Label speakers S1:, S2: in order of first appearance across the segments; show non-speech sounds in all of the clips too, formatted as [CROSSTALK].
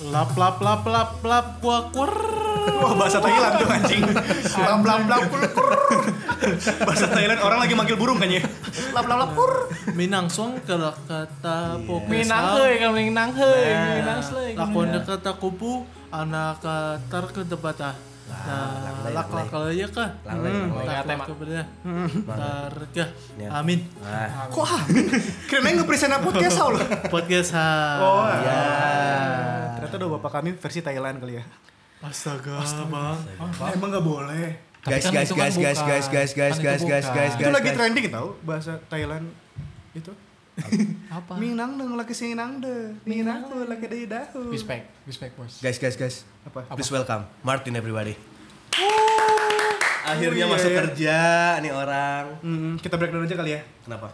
S1: Lap lap lap lap lap gua kur.
S2: Wah bahasa Thailand tuh anjing. Blam blam blam pur pur. Bahasa Thailand orang lagi manggil burung kan ya. Blam blam blam pur.
S1: Minang song kala kata pokok.
S3: Minang heuy kan minang heuy,
S4: Nah,
S3: minang sleuy.
S1: Lakonnya kata kupu anak katar ke debata. Nah,
S4: Lah,
S1: lak lak kalau ya kah?
S4: Lalai,
S1: Hmm,
S4: lalai.
S1: tak
S3: Ingat,
S1: lak
S3: Mak.
S1: kebenar. Targa.
S4: Ya.
S1: Amin.
S4: Nah,
S2: Kok ah? Keren aja nge-present aku podcast loh.
S1: Podcast ha.
S4: ah. Ya.
S2: iya. Ternyata udah bapak kami versi Thailand kali ya.
S1: Astaga, Bang.
S2: Emang gak boleh.
S4: guys,
S3: kan
S4: guys,
S3: itu kan
S4: guys, guys,
S3: bukan.
S4: guys, guys,
S3: Kan
S4: guys,
S3: itu
S4: guys, guys,
S3: bukan.
S4: guys,
S2: Itu
S4: guys,
S2: lagi
S4: guys.
S2: trending tau bahasa Thailand itu.
S3: Apa?
S2: Minang deng lagi sinang de. Minang aku lagi di dahu.
S3: Respect, respect bos.
S4: Guys, guys, guys.
S2: Apa?
S4: Please welcome Martin everybody. Akhirnya
S2: Oh, iya,
S4: masuk
S2: iya.
S4: kerja nih orang.
S2: Hmm, kita breakdown aja kali ya.
S4: Kenapa?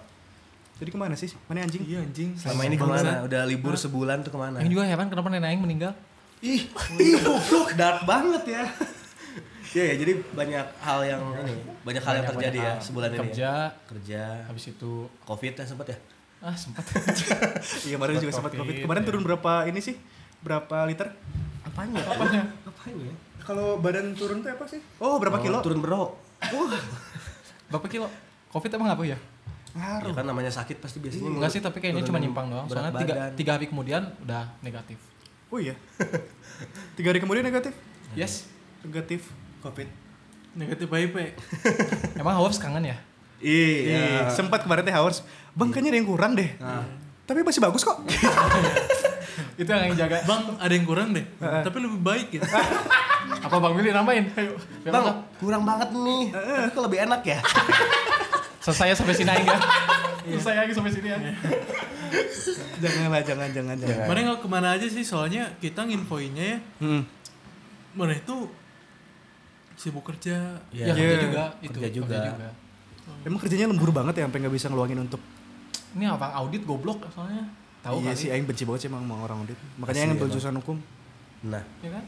S2: Jadi kemana sih? Mana anjing?
S1: Iya anjing.
S4: Selama ini kemana? Udah libur sebulan tuh kemana?
S3: Yang juga heran kenapa nenek aing meninggal?
S4: Ih, ih, goblok, dark banget ya. Iya ya, jadi banyak hal yang ini, banyak hal yang terjadi ya sebulan ini.
S3: Kerja,
S4: ya. kerja,
S3: habis itu
S4: covid ya sempat ya.
S3: ah sempat
S2: Iya kemarin juga sempat
S3: Covid,
S2: covid. Kemarin turun berapa ini sih? Berapa liter?
S4: Apanya?
S3: Apanya?
S4: Apanya ya?
S2: Kalau badan turun tuh apa sih? Oh berapa kilo?
S4: Turun bro.
S3: Bapak kilo Covid emang apa ya?
S2: Ngaruh.
S4: Ya kan namanya sakit pasti biasanya.
S3: Enggak sih, tapi kayaknya cuma
S4: turunin
S3: nyimpang doang.
S4: berat
S3: Soalnya tiga,
S4: badan.
S3: tiga hari kemudian udah negatif.
S2: Oh iya. [LAUGHS] Tiga hari kemudian negatif.
S4: Iya.
S3: Yes.
S2: Negatif covid.
S1: Negatif baik,
S3: Emang Hawas kangen ya?
S2: Iya. Nah.
S4: Iya.
S2: Sempat kemarin teh hours. Bang kayaknya ada yang kurang deh. Tapi masih bagus kok. [LAUGHS]
S3: Itu yang aing jaga.
S1: Bang, ada yang kurang deh. Tapi lebih baik ya.
S3: Apa Bang Willy nambahin? Ayo. Biar
S4: Bang,
S3: mantap.
S4: kurang banget nih. Tapi kok lebih enak ya?
S3: selesai sampai
S4: [LAUGHS]
S3: sini
S4: Iya.
S3: aing ya. Selesai aing sampai sini ya. aing.
S2: janganlah, jangan, jangan, jangan.
S1: Mana nggak kemana aja sih? Soalnya kita nginfoinnya ya.
S2: Hmm.
S1: Mana itu sibuk kerja.
S3: Ya,
S4: Iya.
S3: kerja juga itu.
S4: Kerja juga.
S2: Emang kerjanya lembur banget ya, sampai nggak bisa ngeluangin untuk.
S3: Ini abang audit goblok soalnya. Tahu
S2: iya
S3: kali.
S2: sih, Aing benci banget sih emang sama orang audit.
S4: Asli
S2: Makanya Aing ambil
S4: emang.
S2: jurusan hukum.
S4: Nah,
S3: Ya kan?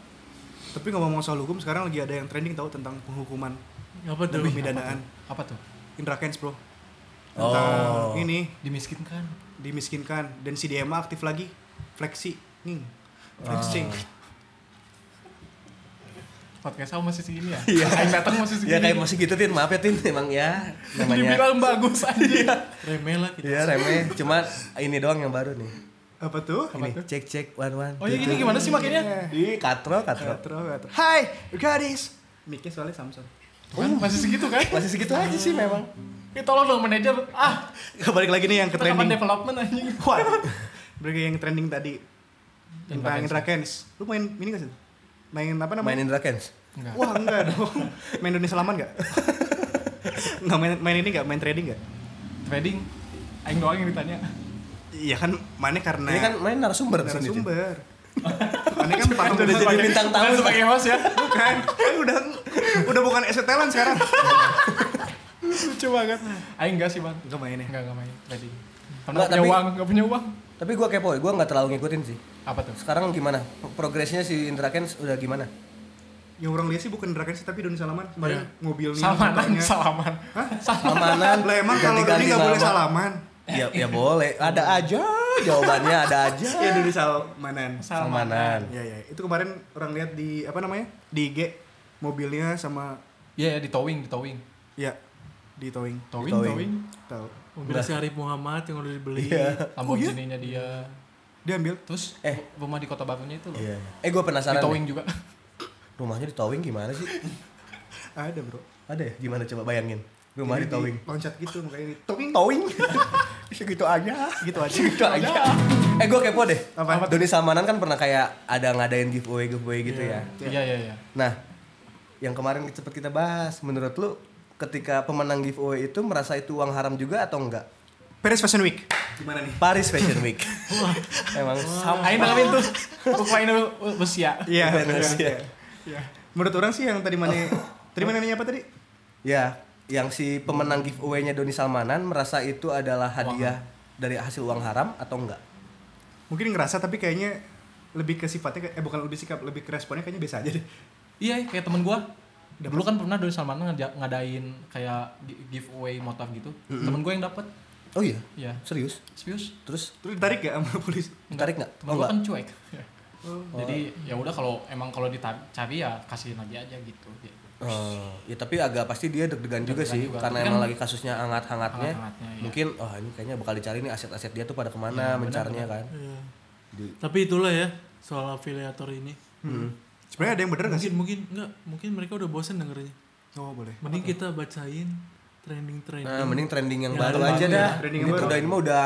S2: Tapi ngomong-ngomong soal hukum, sekarang lagi ada yang trending tahu tentang penghukuman
S1: Apa
S2: dan
S1: tuh?
S2: pemidanaan.
S3: Apa tuh?
S2: Indra Kents bro. Tentang
S4: Oh.
S2: Nah, ini,
S3: Dimiskinkan.
S2: dimiskinkan. Dan si DMA aktif lagi. Flexi. Nih. Flexing.
S3: Podcast aku masih segini
S4: [LAUGHS]
S3: ya? Iya. Aing datang masih segini.
S4: ya kayak masih gitu Tin, maaf ya Tin, emang ya namanya.
S3: Dibilang bagus anjing.
S1: Remeh lah kita.
S4: Ya remeh, cuma ini doang yang baru nih.
S2: Apa tuh? iya.
S4: Ini cek cek one one.
S3: Oh ya gini gimana sih makanya?
S4: Di katro katro.
S2: Katro, katro. Hai, gadis. Mic-nya soalnya Samsung.
S3: Tuh kan masih segitu kan?
S4: Masih segitu aja sih memang.
S3: Eh tolong dong manajer. Ah,
S2: [LAUGHS] Balik lagi nih yang ke
S3: kita kapan
S2: trending.
S3: development anjing?
S2: Wah. Balik yang trending tadi.
S3: Indra
S2: Tentang
S3: Kents.
S2: Indra Kents. Lu main ini gak sih? Main apa namanya?
S4: Mainin Rakens.
S3: Enggak.
S2: [LAUGHS] Wah enggak dong. Main Indonesia laman [LAUGHS] gak? Nggak main, main ini gak? Main trading gak?
S3: Trading aing doang yang ditanya.
S2: Iya kan, mana karena
S4: Ini kan main narasumber di
S2: [LAUGHS]
S4: sini. Tin.
S2: narasumber. Mana kan patung
S4: Udah jadi
S3: Sebagai-
S4: bintang tamu.
S3: Bukan sebagai host ya.
S2: bukan. Kan udah udah bukan esetelan sekarang.
S3: Lucu banget. Aing enggak sih, Bang.
S2: Enggak main ya.
S3: Enggak enggak main trading. Karena
S4: Enggak,
S3: enggak punya
S4: tapi-
S3: uang, enggak punya uang.
S4: Tapi gua kepo, gua nggak terlalu ngikutin sih.
S3: Apa tuh?
S4: Sekarang gimana? Progresnya si Indra Kens udah gimana?
S2: Yang orang lihat sih bukan Draken sih tapi Doni Salaman kemarin mobilnya
S3: Salamanan,
S2: motornya.
S3: salaman.
S2: Hah?
S4: Amanan.
S2: [LAUGHS] Lah emang kalau Doni nggak boleh salaman.
S4: Ya, ya boleh. Ada aja jawabannya, ada aja.
S2: Ya Doni Salmanan.
S4: Salmanan.
S2: Ya ya, itu kemarin orang lihat di apa namanya? Di IG mobilnya sama
S3: Iya, ya, di towing, di towing.
S2: ya di towing.
S3: Towing,
S4: towing.
S3: towing.
S2: Tahu.
S1: Mobil si Arif Muhammad yang udah dibeli.
S4: Oh, iya?
S3: Lamborghini-nya dia.
S2: Dia ambil
S3: Terus
S4: Eh.
S3: rumah di Kota Barunya itu loh.
S4: Iya. Eh gua
S3: Di
S4: penasaran.
S3: towing
S4: deh.
S3: juga.
S4: Rumahnya di towing gimana sih?
S2: ada, Bro.
S4: Ada ya? Gimana coba bayangin? Rumah
S2: Jadi
S4: di towing.
S2: Loncat gitu makanya di towing.
S4: [LAUGHS] Towing. Segitu aja.
S2: Gitu aja.
S4: Segitu aja. Eh gua kepo deh.
S2: Apa?
S4: Doni Salmanan kan pernah kayak ada ngadain giveaway giveaway gitu ya.
S3: Iya, iya, iya.
S4: Nah, yang kemarin cepet kita bahas, menurut lu ketika pemenang giveaway itu merasa itu uang haram juga atau enggak?
S2: Paris Fashion Week. Gimana nih?
S4: Paris Fashion [LAUGHS] Week. Emang sama.
S3: Aing dalam itu. Ukraina Rusia.
S2: Iya.
S4: Panas,
S2: iya.
S4: ya.
S2: Iya. Menurut orang sih yang tadi mana tadi mana nanya apa tadi?
S4: Ya, yang si pemenang giveaway-nya Doni Salmanan merasa itu adalah hadiah dari hasil uang haram atau enggak?
S2: Mungkin ngerasa tapi kayaknya lebih ke sifatnya kayak- eh bukan lebih sikap lebih ke responnya kayaknya biasa aja deh.
S3: Iya, kayak temen gua. Dulu kan pernah Doni Salman ngada- ngadain kayak gi- giveaway motor gitu. Temen gua yang dapet.
S4: Oh iya,
S3: Iya.
S4: serius?
S3: Serius?
S4: Terus
S2: Terus ditarik gak sama polisi?
S4: ditarik nggak?
S3: Temen
S4: Oh
S3: gua
S4: enggak.
S3: kan cuek. Jadi ya udah kalau emang kalau dicari ya kasihin lagi aja gitu. Ya,
S4: Eh, ya tapi agak pasti dia deg-degan juga
S3: Deg-degan
S4: sih
S3: juga.
S4: karena
S3: Tapi
S4: emang
S3: kan-
S4: lagi kasusnya hangat-hangatnya.
S3: Hangat-hangatnya, iya.
S4: Mungkin oh ini kayaknya bakal dicari nih aset-aset dia tuh pada kemana mencarnya kan.
S1: Iya.
S4: Di-
S1: Tapi itulah ya soal afiliator ini.
S2: Sebenarnya ada yang bener gak sih?
S1: Mungkin mungkin enggak, mungkin mereka udah bosen dengernya.
S2: Oh boleh.
S1: Mending kita bacain trending-trending.
S4: Nah, mending trending yang
S1: Yang
S4: baru
S1: baru
S4: aja
S1: ya.
S4: dah.
S2: Trending
S4: ini
S2: yang
S4: tuh
S2: baru.
S4: udah ini mah udah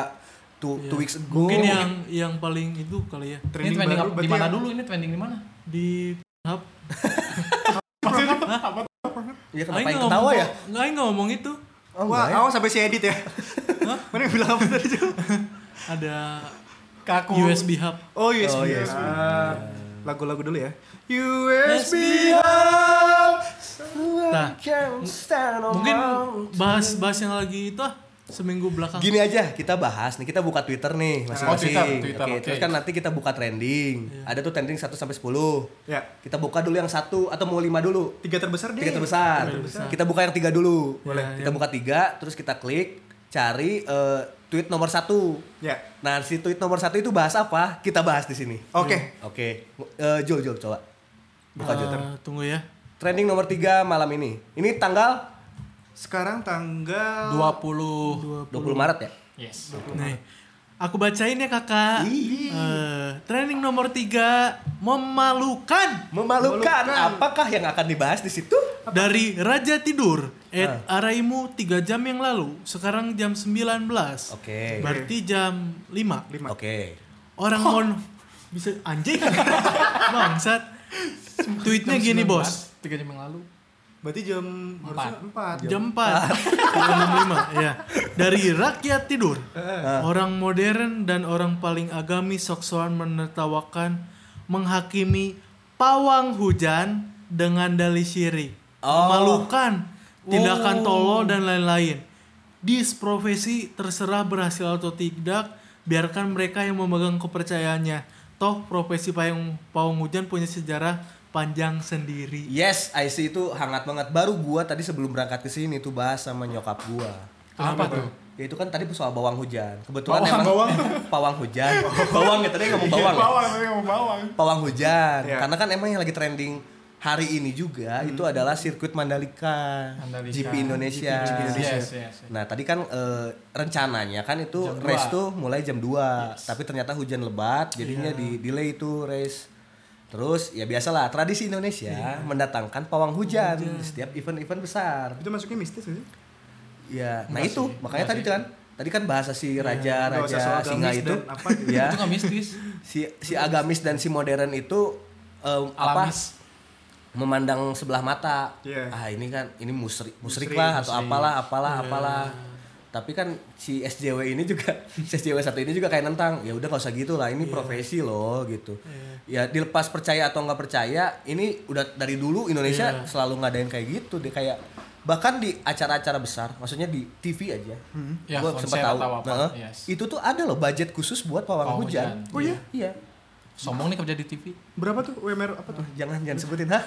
S4: two,
S1: Iya.
S4: two weeks ago.
S1: Mungkin yang yang paling itu kali ya
S3: ini trending ya?
S2: baru
S3: up-
S2: berarti
S3: di mana
S2: yang-
S3: dulu ini trending di mana?
S1: di hub.
S2: Maksudnya
S4: Ya
S1: Aing
S4: kenapa yang
S1: nggak
S4: ketawa
S1: ngomong-
S4: ya?
S1: Nggak, Aing nggak ngomong itu.
S4: Oh,
S2: Wah,
S4: enggak ya?
S2: awas sampai si edit ya. Mana yang bilang apa tadi, Cel?
S1: Ada
S2: Kaku.
S1: USB hub.
S2: Oh, USB.
S4: Oh, USB.
S2: Ah, Lagu-lagu dulu ya. USB.
S1: Nah,
S4: Can't stand on
S1: mungkin
S4: my-
S1: bahas bahas yang lagi itu ah seminggu belakang.
S4: Gini aja, kita bahas nih, kita buka Twitter nih masing-masing.
S3: Twitter, Twitter,
S4: Oke,
S3: oke.
S4: terus kan nanti kita buka trending. Ada tuh trending 1 sampai 10.
S2: Ya,
S4: Kita buka dulu yang satu atau mau lima dulu?
S2: tiga terbesar deh.
S4: Tiga terbesar. Iya. Kita buka yang tiga dulu.
S1: Boleh.
S4: Kita buka tiga, terus kita klik cari eh, tweet nomor satu.
S2: Ya.
S4: Nah si tweet nomor satu itu bahas apa? Kita bahas di sini.
S2: Oke.
S4: Oke, Eh, Jul, Jul coba. Buka Jul.
S1: Eh, tunggu ya.
S4: Trending nomor tiga malam ini. Ini tanggal
S2: Sekarang tanggal
S3: 20
S4: 20 Maret ya?
S3: Yes.
S1: Nih. Nah, Aku bacain ya kakak. Eh, training nomor 3 memalukan
S4: Memalukan. Apakah yang akan dibahas di situ?
S1: dari Raja Tidur at Araimu 3 jam yang lalu. Sekarang jam 19.
S4: Oke.
S1: Berarti jam 5.
S4: Oke.
S1: Orang mon bisa anjing. [LAUGHS] Bangsat. Tweetnya gini bos.
S3: 3 jam yang lalu.
S2: berarti jam harusnya empat.
S1: Jam 4 65 ya. Dari rakyat tidur Orang modern dan orang paling agami Sok-sokan menertawakan Menghakimi pawang hujan Dengan dali syirik
S4: Oh.
S1: Memalukan Tindakan tolol dan lain-lain Di profesi terserah berhasil atau tidak Biarkan mereka yang memegang kepercayaannya Toh profesi payung, pawang hujan punya sejarah panjang sendiri
S4: Yes, IC itu hangat banget. Baru gua tadi sebelum berangkat ke sini tuh bahas sama nyokap gua.
S3: Apa tuh?
S4: Ya itu kan tadi soal bawang hujan. Kebetulan
S2: Bawang,
S4: emang
S2: bawang.
S4: [LAUGHS]
S2: Iya,
S4: pawang
S2: [LAUGHS]
S4: hujan. bawang ya tadi ngomong bawang. ya?
S2: Bawang, tapi mau bawang.
S4: Pawang hujan.
S2: Iya. Hmm.
S4: Karena kan emang yang lagi trending hari ini juga itu adalah sirkuit Mandalika,
S3: Mandalika.
S4: GP Indonesia.
S3: GP Indonesia. Yes, yes, yes.
S4: Nah, tadi kan eh, rencananya kan itu
S3: Jam
S4: race
S3: dua.
S4: tuh mulai jam 2, tapi ternyata hujan lebat
S3: Iya.
S4: jadinya di delay itu race. Terus ya biasalah tradisi Indonesia
S3: Iya.
S4: mendatangkan pawang hujan, di setiap event-event besar.
S2: Itu masuknya mistis gak sih?
S4: Ya, nah itu makanya tadi kan tadi kan bahasa si raja
S2: nggak usah Iya, soal
S4: raja singa
S2: agamis
S4: itu
S2: dan apa gitu.
S4: ya
S3: Itu nggak mistis.
S4: si si agamis dan si modern itu eh, apa
S3: Alamis.
S4: memandang sebelah mata
S2: Iya.
S4: ah ini kan ini musrik
S2: Musrik,
S4: musrik,
S2: Iya.
S4: lah atau apalah apalah apalah tapi kan si SJW ini juga [LAUGHS] si SJW satu ini juga kayak nentang ya udah gak usah gitu lah
S2: Iya.
S4: ini profesi loh gitu ya dilepas percaya atau nggak percaya ini udah dari dulu
S2: Iya.
S4: Indonesia selalu ngadain kayak gitu deh kayak bahkan di acara-acara besar maksudnya di TV aja
S2: Hmm.
S3: Ya,
S4: gua
S3: konser
S4: sempat tahu
S3: atau apa,
S4: Nah,
S3: yes.
S4: itu tuh ada loh budget khusus buat pawang,
S3: Pawang
S4: hujan.
S3: hujan,
S4: oh iya iya
S3: Sombong nih kerja di [LAUGHS] TV.
S2: Berapa tuh UMR apa tuh?
S4: jangan jangan sebutin hah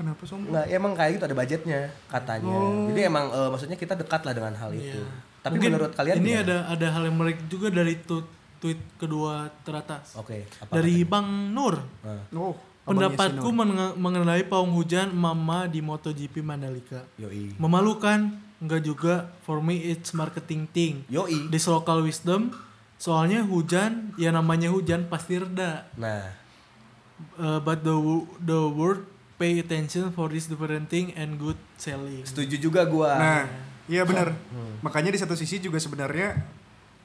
S2: Kenapa sombong?
S4: Nah, emang kayak gitu ada budgetnya katanya. Jadi emang eh, maksudnya kita dekat lah dengan hal itu.
S1: Iya.
S4: Tapi
S1: Mungkin
S4: menurut kalian
S1: ini
S4: gimana?
S1: ada ada hal yang menarik juga dari tu- tweet kedua teratas
S4: Oke, Oh, apa?
S1: dari Bang Nur
S4: Nah,
S2: Oh,
S1: pendapatku menge- mengenai pawang hujan mama di MotoGP Mandalika
S4: yoi.
S1: memalukan enggak juga for me it's marketing thing
S4: Yoi.
S1: this local wisdom soalnya hujan ya namanya hujan pasti reda
S4: Nah,
S1: Uh, but the wo- the world pay attention for this different thing and good selling
S4: setuju juga gua.
S2: Nah, iya benar.
S4: Hmm.
S2: Makanya di satu sisi juga sebenarnya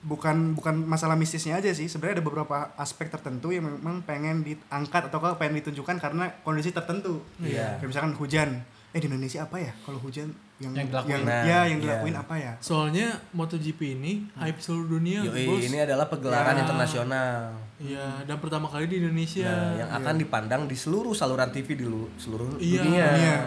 S2: bukan bukan masalah mistisnya aja sih. Sebenarnya ada beberapa aspek tertentu yang memang pengen diangkat atau nggak pengen ditunjukkan karena kondisi tertentu.
S4: Iya.
S2: Kayak misalkan hujan. Eh di Indonesia apa ya kalau hujan yang
S3: Yang dilakuin.
S4: Nah,
S2: ya yang
S4: iya.
S2: dilakuin apa ya?
S1: soalnya MotoGP ini hype seluruh dunia
S4: Yoi,
S1: iya, bos
S4: ini adalah pegelaran internasional.
S1: Iya, dan pertama kali di Indonesia.
S4: Nah, yang akan dipandang di seluruh saluran TV di lu- seluruh
S1: Iya.
S4: dunia.
S2: Iya.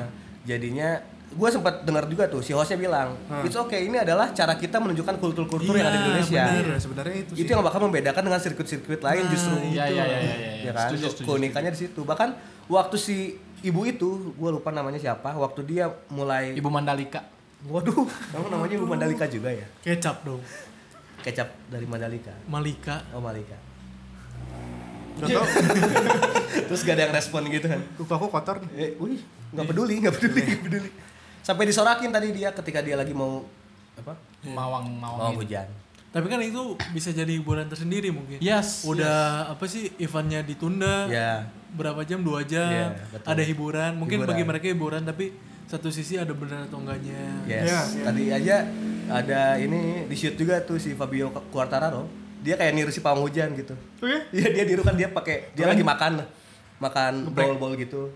S4: Jadinya gua sempat dengar juga tuh si hostnya bilang, "It's okay, ini adalah cara kita menunjukkan kultur-kultur
S1: Iya,
S4: yang ada di Indonesia."
S2: Iya, sebenarnya itu sih.
S4: Itu yang bakal membedakan dengan sirkuit-sirkuit lain justru.
S3: Iya, iya, iya, iya,
S4: ya kan
S3: Setuju, setuju.
S4: keunikannya di situ bahkan waktu si ibu itu gue lupa namanya siapa waktu dia mulai
S3: Ibu Mandalika.
S4: waduh kamu namanya ibu Mandalika juga ya
S1: Kecap dong.
S4: kecap dari Mandalika
S1: Malika.
S4: oh Malika
S2: Contoh,
S4: terus gak ada yang respon gitu kan
S2: lupa aku kotor nih.
S4: eh wih nggak peduli nggak peduli nggak peduli sampai disorakin tadi dia ketika dia lagi mau apa
S3: mawang
S4: mau
S3: Iya. mawang gitu.
S4: hujan
S1: Tapi kan itu bisa jadi hiburan tersendiri mungkin.
S3: Yes.
S1: Udah apa sih eventnya ditunda?
S4: ya
S1: Berapa jam? Dua jam.
S4: Iya, betul.
S1: ada hiburan. Mungkin
S4: Hiburan.
S1: bagi mereka hiburan tapi satu sisi ada benar atau enggaknya.
S4: yes
S2: Ya, ya.
S4: tadi aja ada ini di shoot juga tuh si Fabio Quartararo dia kayak niru si pawang hujan gitu [LAUGHS]
S2: Oke,
S4: Iya dia diru kan dia pakai dia lagi makan makan bol bol gitu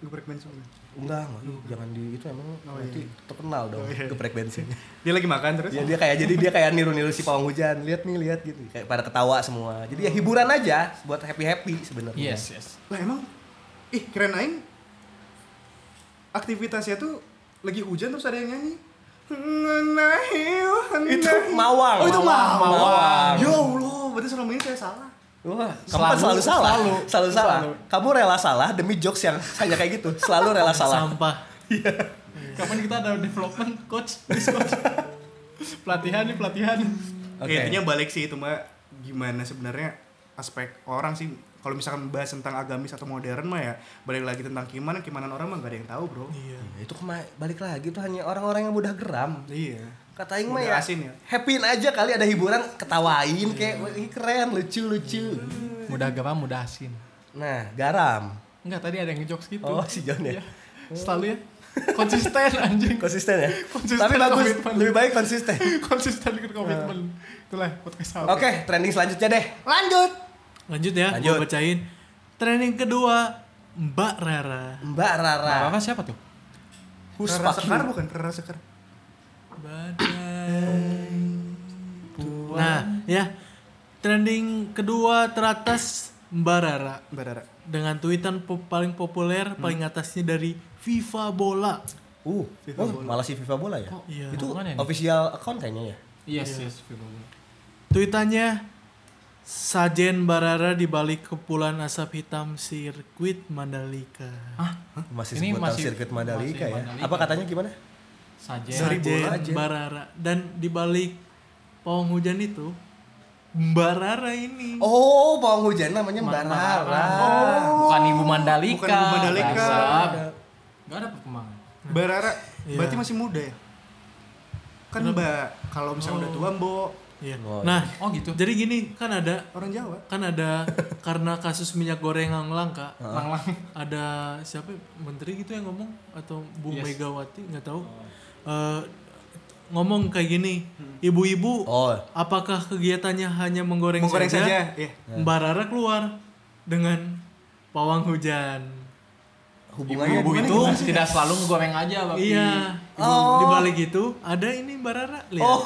S2: geprek bensin.
S4: enggak enggak lu jangan di itu emang nanti terkenal dong geprek bensin [LAUGHS]
S2: Dia lagi makan terus.
S4: ya dia kayak jadi dia kayak niru niru si pawang hujan lihat nih lihat gitu kayak pada ketawa semua jadi ya hiburan aja buat happy happy sebenarnya
S3: Yes, yes.
S2: Lah emang ih keren aing. Aktivitasnya tuh lagi hujan terus ada yang nyanyi.
S4: itu mawang
S2: Oh itu mawang.
S4: mawang
S2: Ya Allah, berarti selama ini saya salah.
S4: Wah, kamu kan selalu, salah, selalu, salah. Kamu rela salah demi jokes yang hanya kayak gitu, selalu
S1: [LAUGHS]
S4: rela salah. Iya.
S1: Sampah. Iya.
S3: Kapan kita ada development coach, Please,
S4: [LAUGHS]
S3: coach? pelatihan nih pelatihan.
S4: Oke.
S2: Ya, intinya balik sih itu mbak gimana sebenarnya aspek orang sih kalau misalkan bahas tentang agamis atau modern mah ya balik lagi tentang gimana kimanan orang mah gak ada yang tahu bro.
S1: Iya.
S4: Ya, Itu kema- balik lagi tuh hanya orang-orang yang mudah geram.
S2: Iya.
S4: Kata Aing mah ya,
S2: Moderasin ya.
S4: happyin aja kali ada hiburan, ketawain kayak "Wah, ini keren, lucu, lucu.
S3: Mudah agama, mudah asin.
S4: Nah, garam.
S3: Enggak, tadi ada yang ngejokes gitu.
S4: Oh, si John ya.
S3: Iya. Selalu ya. Konsisten anjing.
S4: Konsisten ya?
S3: Konsisten
S4: Tapi bagus,
S3: komitmen.
S4: lebih baik konsisten.
S3: Konsisten
S4: Iya.
S3: dengan komitmen. Itulah podcast
S4: Oke,
S3: apa.
S4: trending selanjutnya deh. Lanjut.
S1: Lanjut ya,
S4: Lanjut.
S1: gua bacain. Training kedua Mbak Rara.
S4: Mbak Rara.
S3: Nah, apa siapa tuh?
S2: Rara Sekar bukan Rara Sekar.
S1: Badai. Nah, ya. Trending kedua teratas Mbak Rara.
S2: Mbak Rara.
S1: dengan tweetan po- paling populer paling atasnya dari FIFA Bola.
S4: Uh, oh, malah si FIFA bola ya?
S1: Iya.
S4: Itu
S3: Hubungannya nih?
S4: official account kayaknya ya?
S3: Yes, yes. Vivo.
S1: Tweetannya Sajen Barara di balik kepulan asap hitam sirkuit Mandalika.
S3: Hah?
S4: Masih
S3: Ini
S4: sebutan
S3: masih-
S4: sirkuit Mandalika
S3: masih
S4: ya?
S3: Mandalika.
S4: Apa katanya gimana?
S3: Saja.
S4: Dari bola
S1: Sajen
S4: aja.
S1: Barara dan di balik pawang hujan itu Barara ini.
S4: Oh, pawang hujan namanya Mbak
S3: Mandala.
S4: Rara.
S3: Oh, bukan Ibu Mandalika.
S2: Bukan Ibu Mandalika.
S3: Bangsat. Nggak ada perkembangan.
S2: Mbak Rara
S1: Iya.
S2: berarti masih muda ya? Kan Mbak kalau misalnya udah tua Mbok
S1: Iya.
S4: Oh,
S1: Nah,
S3: Oh gitu.
S1: jadi gini kan ada
S2: orang Jawa.
S1: kan
S4: [LAUGHS]
S1: ada karena kasus minyak goreng yang langka
S3: Lang-lang.
S1: ada siapa ya, menteri gitu yang ngomong atau Bu
S3: Yes. Oh.
S1: Megawati nggak tahu Eh, ngomong kayak gini
S3: Hmm.
S1: ibu-ibu
S4: Oh,
S1: apakah kegiatannya hanya menggoreng,
S2: Menggoreng
S1: saja,
S2: saja, iya.
S1: Mbak Rara keluar dengan pawang hujan
S4: hubungannya
S3: Ibu itu tidak selalu goreng aja, Bapak.
S1: iya
S4: Oh.
S1: di balik itu ada ini Mbak Rara lihat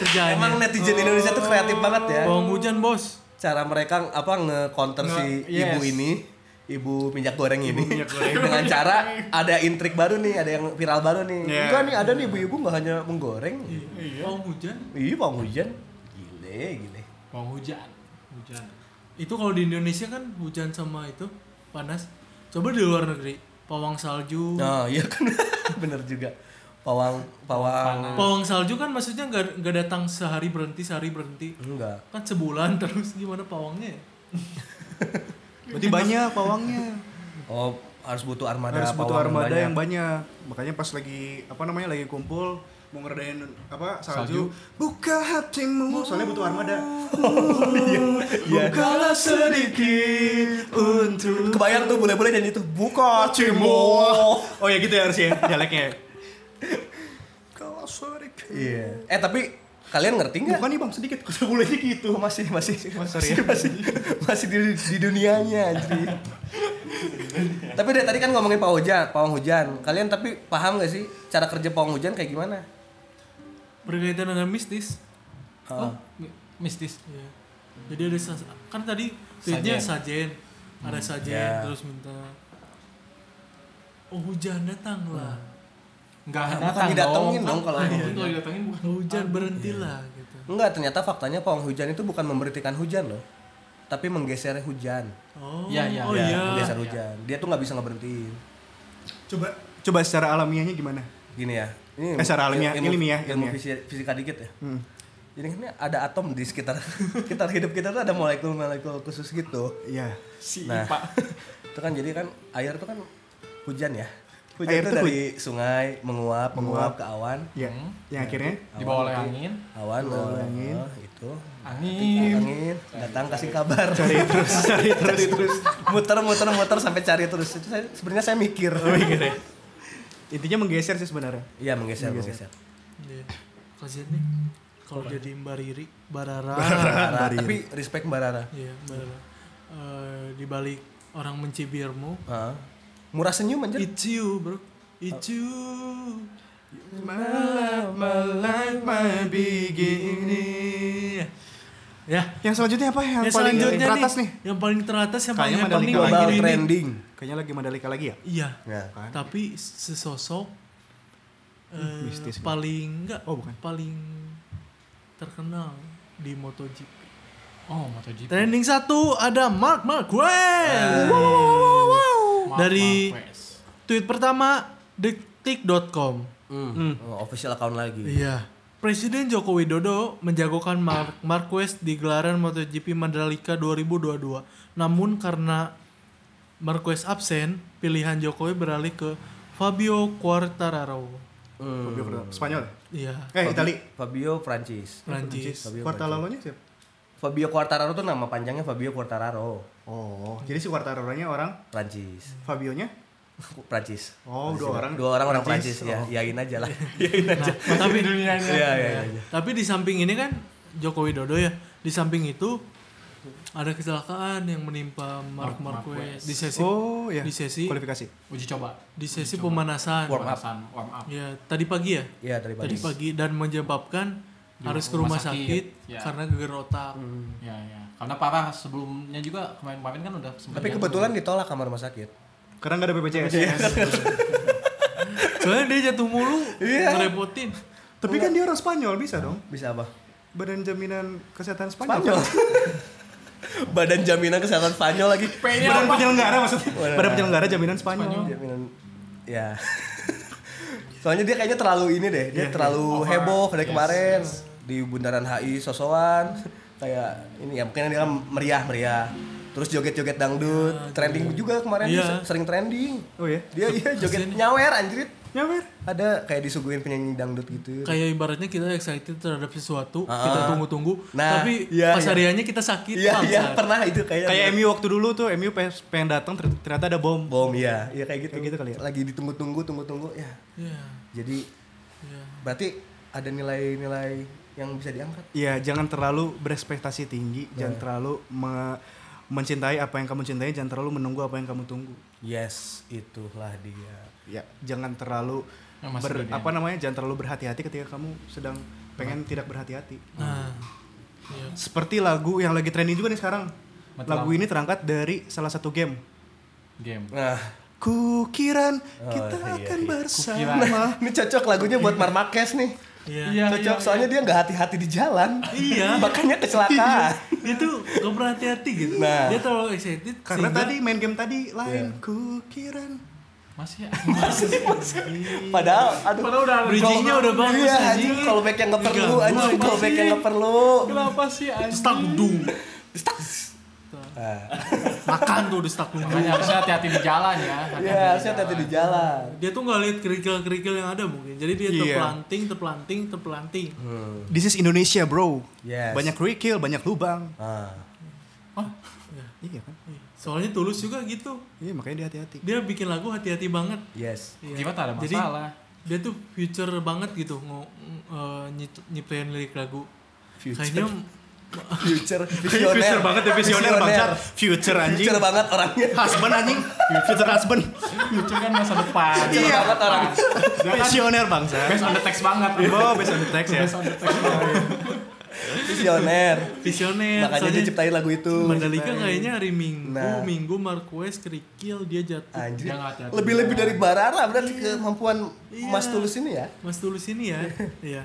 S1: kerjaannya
S4: Iya, Emang netizen Indonesia tuh kreatif banget ya.
S1: pawang hujan bos
S4: Cara mereka apa nge-counter si
S3: Nge-
S4: ibu
S3: yes.
S4: ini, ibu minyak goreng ini.
S2: minyak goreng.
S4: Dengan cara ada intrik baru nih, ada yang viral baru nih.
S2: Iya.
S4: Enggak nih, ada nih ibu-ibu nggak hanya menggoreng.
S1: pawang hujan
S4: Iya, pawang hujan. Gile, gile.
S3: Mau hujan. Hujan.
S1: itu kalau di Indonesia kan hujan sama itu panas coba di luar negeri pawang salju
S4: Nah, iya kan. [LAUGHS] Bener juga. Pawang, pawang.
S1: pawang salju kan maksudnya nggak nggak datang sehari berhenti sehari berhenti
S4: Enggak.
S1: kan sebulan [LAUGHS] terus gimana pawangnya ya?
S2: Berarti banyak pawangnya.
S4: Oh, harus butuh armada
S2: Harus butuh
S4: pawang
S2: armada
S4: banyak.
S2: yang banyak. Makanya pas lagi apa namanya lagi kumpul mau ngeredain apa salju, buka hatimu. Soalnya butuh armada. Bukalah sedikit untuk
S4: Kebayang tuh boleh-boleh dan itu buka
S2: hatimu.
S4: cimo.
S2: Oh ya gitu ya harusnya jeleknya. Kalau sedikit.
S4: Iya. Eh tapi kalian ngerti nggak?
S2: Bukan nih bang
S4: [LAUGHS]
S2: sedikit, sebulenya gitu.
S4: Oh, masih masih
S2: sorry
S4: masih, masih, masih di, di dunianya anjir. tapi dari tadi kan ngomongin pawang hujan, pawang hujan. Kalian tapi paham gak sih cara kerja pawang hujan kayak gimana?
S1: berkaitan dengan mistis
S3: Oh, mi- mistis.
S1: Ah. Iya. jadi ada sas- kan tadi tweetnya sajen ada
S3: Hmm,
S1: sajen
S3: iya.
S4: ya.
S1: terus minta oh hujan datanglah
S3: Hmm. Enggak
S4: Bukan didatengin dong kalau
S3: Iya,
S4: hujan.
S3: kalau didatengin bukan.
S1: hujan
S3: Iya.
S1: berhentilah gitu
S4: Enggak, ternyata faktanya pawang hujan itu bukan memberitikan hujan loh. Tapi menggeser hujan.
S1: oh
S3: Iya, iya,
S1: oh
S3: iya.
S1: iya
S4: menggeser hujan. Dia tuh nggak bisa ngeberhentiin.
S2: Coba coba secara alamiahnya gimana?
S4: Gini ya. Ini
S2: Eh, secara alamiah, ilmiah,
S4: ilmu
S2: ilmiah. Hmm.
S4: fisi- fisika dikit ya. Jadi ini ada atom di sekitar [LAUGHS] sekitar hidup kita tuh ada molekul-molekul khusus gitu.
S2: Iya.
S3: Si
S4: Nah,
S3: Pak.
S4: [LAUGHS] itu kan jadi kan air itu kan hujan ya. Hujan
S2: Air
S4: itu
S2: tuh
S4: dari sungai menguap, menguap ke awan.
S2: Iya. Yang akhirnya
S4: Oh,
S3: Dibawa oleh angin.
S4: Awan,
S2: Lalu
S4: eh,
S2: angin.
S4: itu
S3: Angin.
S4: angin datang kasih kabar. Cari terus, [LAUGHS] cari terus. Muter muter muter sampai cari terus. Itu saya, sebenarnya saya mikir.
S2: intinya menggeser sih sebenarnya.
S4: Iya menggeser, menggeser.
S1: Iya. Kasian nih kalau jadi Mbak Riri, Barara.
S4: Rara, tapi respect Mbak Rara.
S1: Iya, Barara. Eh, di balik orang mencibirmu,
S4: Hah? Murah senyum anjir.
S1: it's you, bro. It's you. Ya.
S2: Yang selanjutnya apa? Yang,
S1: Yang
S2: paling
S1: selanjutnya
S2: teratas nih.
S1: Yang paling teratas yang paling
S2: Kayaknya
S1: yang paling
S2: Mandalika
S4: Global
S1: akhir ini.
S4: trending.
S2: Kayaknya lagi Mandalika lagi ya?
S1: Iya.
S4: Ya.
S1: Tapi sesosok eh,
S2: mistis nih.
S1: paling enggak
S2: Oh, bukan.
S1: paling terkenal di MotoGP.
S2: Gitu.
S3: Oh, MotoGP.
S1: Trending satu ada Mark
S2: Eh.
S1: Marquez. Wow,
S3: Mark
S1: Dari
S3: Marquez.
S1: tweet pertama detik.com.
S4: Hmm. Oh, official account lagi.
S1: Iya. Presiden Joko Widodo menjagokan Mark Marquez di gelaran MotoGP Mandalika 2022. Namun karena Marquez absen, pilihan Jokowi beralih ke Fabio Quartararo.
S4: Hmm.
S2: Fabio Quartararo. Spanyol.
S1: Iya.
S2: Eh, Itali.
S4: Fabio Prancis.
S1: Prancis.
S4: Fabio
S2: Quartararo-nya siapa?
S4: Fabio Quartararo tuh nama panjangnya Fabio Quartararo.
S2: Oh, jadi si Quartararo-nya orang
S4: Prancis.
S2: Fabionya?
S4: Prancis.
S2: Oh, dua orang.
S4: Dua orang orang Prancis,
S2: Prancis,
S4: ya. Yain aja lah.
S1: Nah, tapi
S3: dunia ini.
S4: Iya, iya, iya.
S1: Tapi di samping ini kan Joko Widodo ya, di samping itu ada kecelakaan yang menimpa Mark
S3: Mark
S1: Marquez
S3: Marquez.
S1: di sesi
S2: Oh, iya.
S1: di sesi
S2: Kualifikasi.
S3: Uji coba.
S1: di sesi pemanasan.
S4: Warm up.
S3: Pemanasan, warm up.
S1: Ya, tadi pagi ya?
S4: Iya, dari
S1: Tadi
S4: Prancis.
S1: pagi dan menyebabkan harus ke rumah
S3: rumah
S1: sakit,
S3: sakit,
S4: Iya.
S3: ya.
S1: karena geger otak.
S4: Hmm.
S3: Ya, ya. Karena parah sebelumnya juga kemarin-kemarin kan udah sempat
S4: Tapi
S3: jatuh.
S4: kebetulan ditolak kamar rumah sakit.
S2: Karena nggak ada BPJS.
S1: Soalnya dia jatuh mulu,
S4: Iya.
S1: ngerepotin.
S2: [LAUGHS] Tapi kan dia orang Spanyol bisa dong.
S4: Bisa apa?
S2: Badan jaminan kesehatan Spanyol. [LAUGHS]
S4: Spanyol. Badan jaminan kesehatan Spanyol lagi.
S2: Badan penyelenggara maksudnya. Badan penyelenggara jaminan Spanyol.
S4: Jaminan. Ya. [LAUGHS] Soalnya dia kayaknya terlalu ini deh. Dia terlalu heboh dari kemarin di Bundaran HI sosokan [LAUGHS] kayak ini ya mungkin dia meriah-meriah. Terus joget-joget dangdut, trending juga kemarin dia
S1: Iya.
S4: se- sering trending.
S2: Oh ya.
S4: Dia iya joget nyawer anjrit.
S2: Nyawer.
S4: Ada kayak disuguhin penyanyi dangdut gitu.
S1: Kayak ibaratnya kita excited terhadap sesuatu,
S4: Ah.
S1: kita tunggu-tunggu,
S4: Nah,
S1: tapi
S4: iya,
S1: pas
S4: iya.
S1: hariannya kita sakit.
S4: Iya,
S1: bangsat.
S4: iya pernah itu kayak
S2: Kayak MU waktu dulu tuh, MU pengen pengen datang ter- ternyata ada bom.
S4: bom ya. Iya kayak gitu.
S2: Kayak gitu kali ya.
S4: Lagi ditunggu-tunggu, tunggu-tunggu ya.
S1: Iya,
S4: Jadi
S1: iya.
S4: berarti ada nilai-nilai yang bisa diangkat.
S2: Iya, jangan terlalu berekspektasi tinggi, jangan terlalu me- mencintai apa yang kamu cintai, jangan terlalu menunggu apa yang kamu tunggu.
S4: Yes, itulah dia.
S2: Ya, jangan terlalu
S3: Yang masih
S2: ber-
S3: dunia.
S2: apa namanya? Jangan terlalu berhati-hati ketika kamu sedang pengen tidak berhati-hati.
S1: Nah, iya.
S2: Seperti lagu yang lagi trending juga nih sekarang.
S3: Mati
S2: Lagu ini terangkat dari salah satu game.
S3: game.
S4: Nah,
S2: Kukiran kita akan bersama.
S4: [LAUGHS] ini cocok lagunya buat Marmakes nih.
S1: Iya.
S4: cocok, soalnya dia nggak hati-hati di jalan.
S1: Iya.
S4: [LAUGHS] Makanya kecelakaan.
S1: itu gak berhati-hati gitu.
S4: Nah.
S1: Dia terlalu excited
S2: Karena
S1: sehingga-
S2: tadi main game tadi lain. Kukiran.
S3: Masih ya.
S4: Padahal, aduh.
S3: Padahal udah
S1: bridgingnya Iya. udah bagus
S4: Iya,
S1: anjing.
S4: anjing. Callback yang nggak perlu,
S1: Ganggu
S4: anjing.
S1: apa
S4: Callback yang nggak perlu.
S3: Kenapa sih anjing?
S1: stuck dung.
S4: Nah,
S1: Makan tuh udah stuck dung.
S3: Makanya harusnya hati-hati di jalan ya.
S4: ya, harusnya hati-hati di jalan.
S1: Dia tuh nggak lihat kerikil-kerikil yang ada mungkin. Jadi dia
S2: Iya.
S1: terpelanting, terpelanting, terpelanting.
S2: This is Indonesia, bro.
S4: Yes.
S2: Banyak kerikil, banyak lubang.
S4: Ah.
S2: Iya kan?
S1: Soalnya tulus juga gitu.
S2: Iya, makanya dia hati-hati.
S1: Dia bikin lagu hati-hati banget.
S4: Yes.
S1: Iya.
S3: Tiba tak ada
S1: Jadi,
S3: masalah.
S1: dia tuh future banget gitu ngo- ng- eh, nyip- nyiptain lirik lagu.
S4: Future.
S1: Kayaknya
S4: Future,
S2: Kayaknya
S4: visioner.
S2: future banget ya, visioner bangsat. Future anjing.
S4: Future banget orangnya.
S2: Husband anjing. Future husband.
S3: Lucu kan masa depan.
S4: Future
S2: Iya.
S4: banget orangnya.
S2: Visioner bangsat.
S3: Based on the text banget.
S2: Oh, based on the text ya.
S3: Based Iya. on the text banget.
S4: Visioner.
S2: Iya,
S1: visioner.
S4: Makanya dia
S1: Soalnya
S4: ciptain lagu itu.
S1: Mandalika kayaknya hari Minggu,
S4: Gitu. Nah.
S1: Minggu Marquez kerikil dia jatuh.
S4: Anjir.
S3: Jangan hati-hati.
S4: Lebih-lebih dari Barara berarti kemampuan
S2: Iya.
S4: Mas Tulus ini ya.
S1: Mas Tulus ini ya. Iya.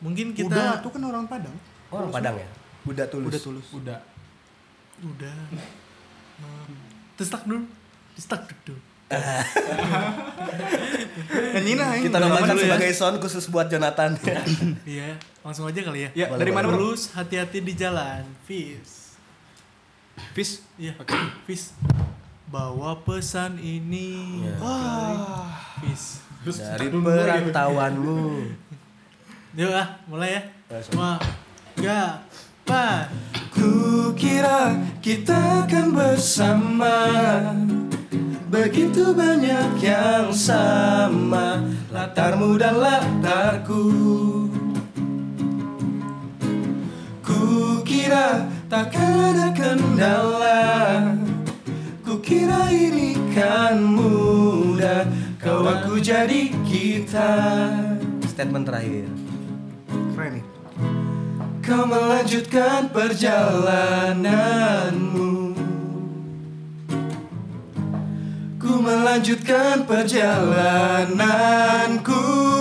S1: Mungkin kita
S2: Udah, itu kan orang Padang.
S4: Orang Padang ya. Buddha Tulus.
S2: Udah tulus.
S3: Udah.
S1: udah. Hmm. Testak dulu. Testak dulu.
S4: Dan Nina ini
S2: Kita
S4: dari mana
S2: namakan
S4: dulu ya?
S2: sebagai sound khusus buat Jonathan.
S1: Iya, langsung aja kali ya.
S4: Ya,
S2: Boleh,
S4: dari mana dulu?
S1: Terus hati-hati di jalan, Fis.
S4: Fis.
S1: Iya, Fis. Bawa pesan ini.
S2: Iya.
S4: Wah.
S1: Fis.
S2: Dari perantauanmu.
S1: Yuk ah, mulai ya.
S2: Ya,
S1: Cuma ya, Pak.
S4: Ku kira kita akan bersama Begitu banyak yang sama Latarmu dan latarku Ku kira takkan ada kendala Ku kira ini kan mudah Kau aku jadi kita
S2: Statement terakhir.
S4: Keren nih
S2: Kau melanjutkan perjalananmu. Ku melanjutkan perjalananku.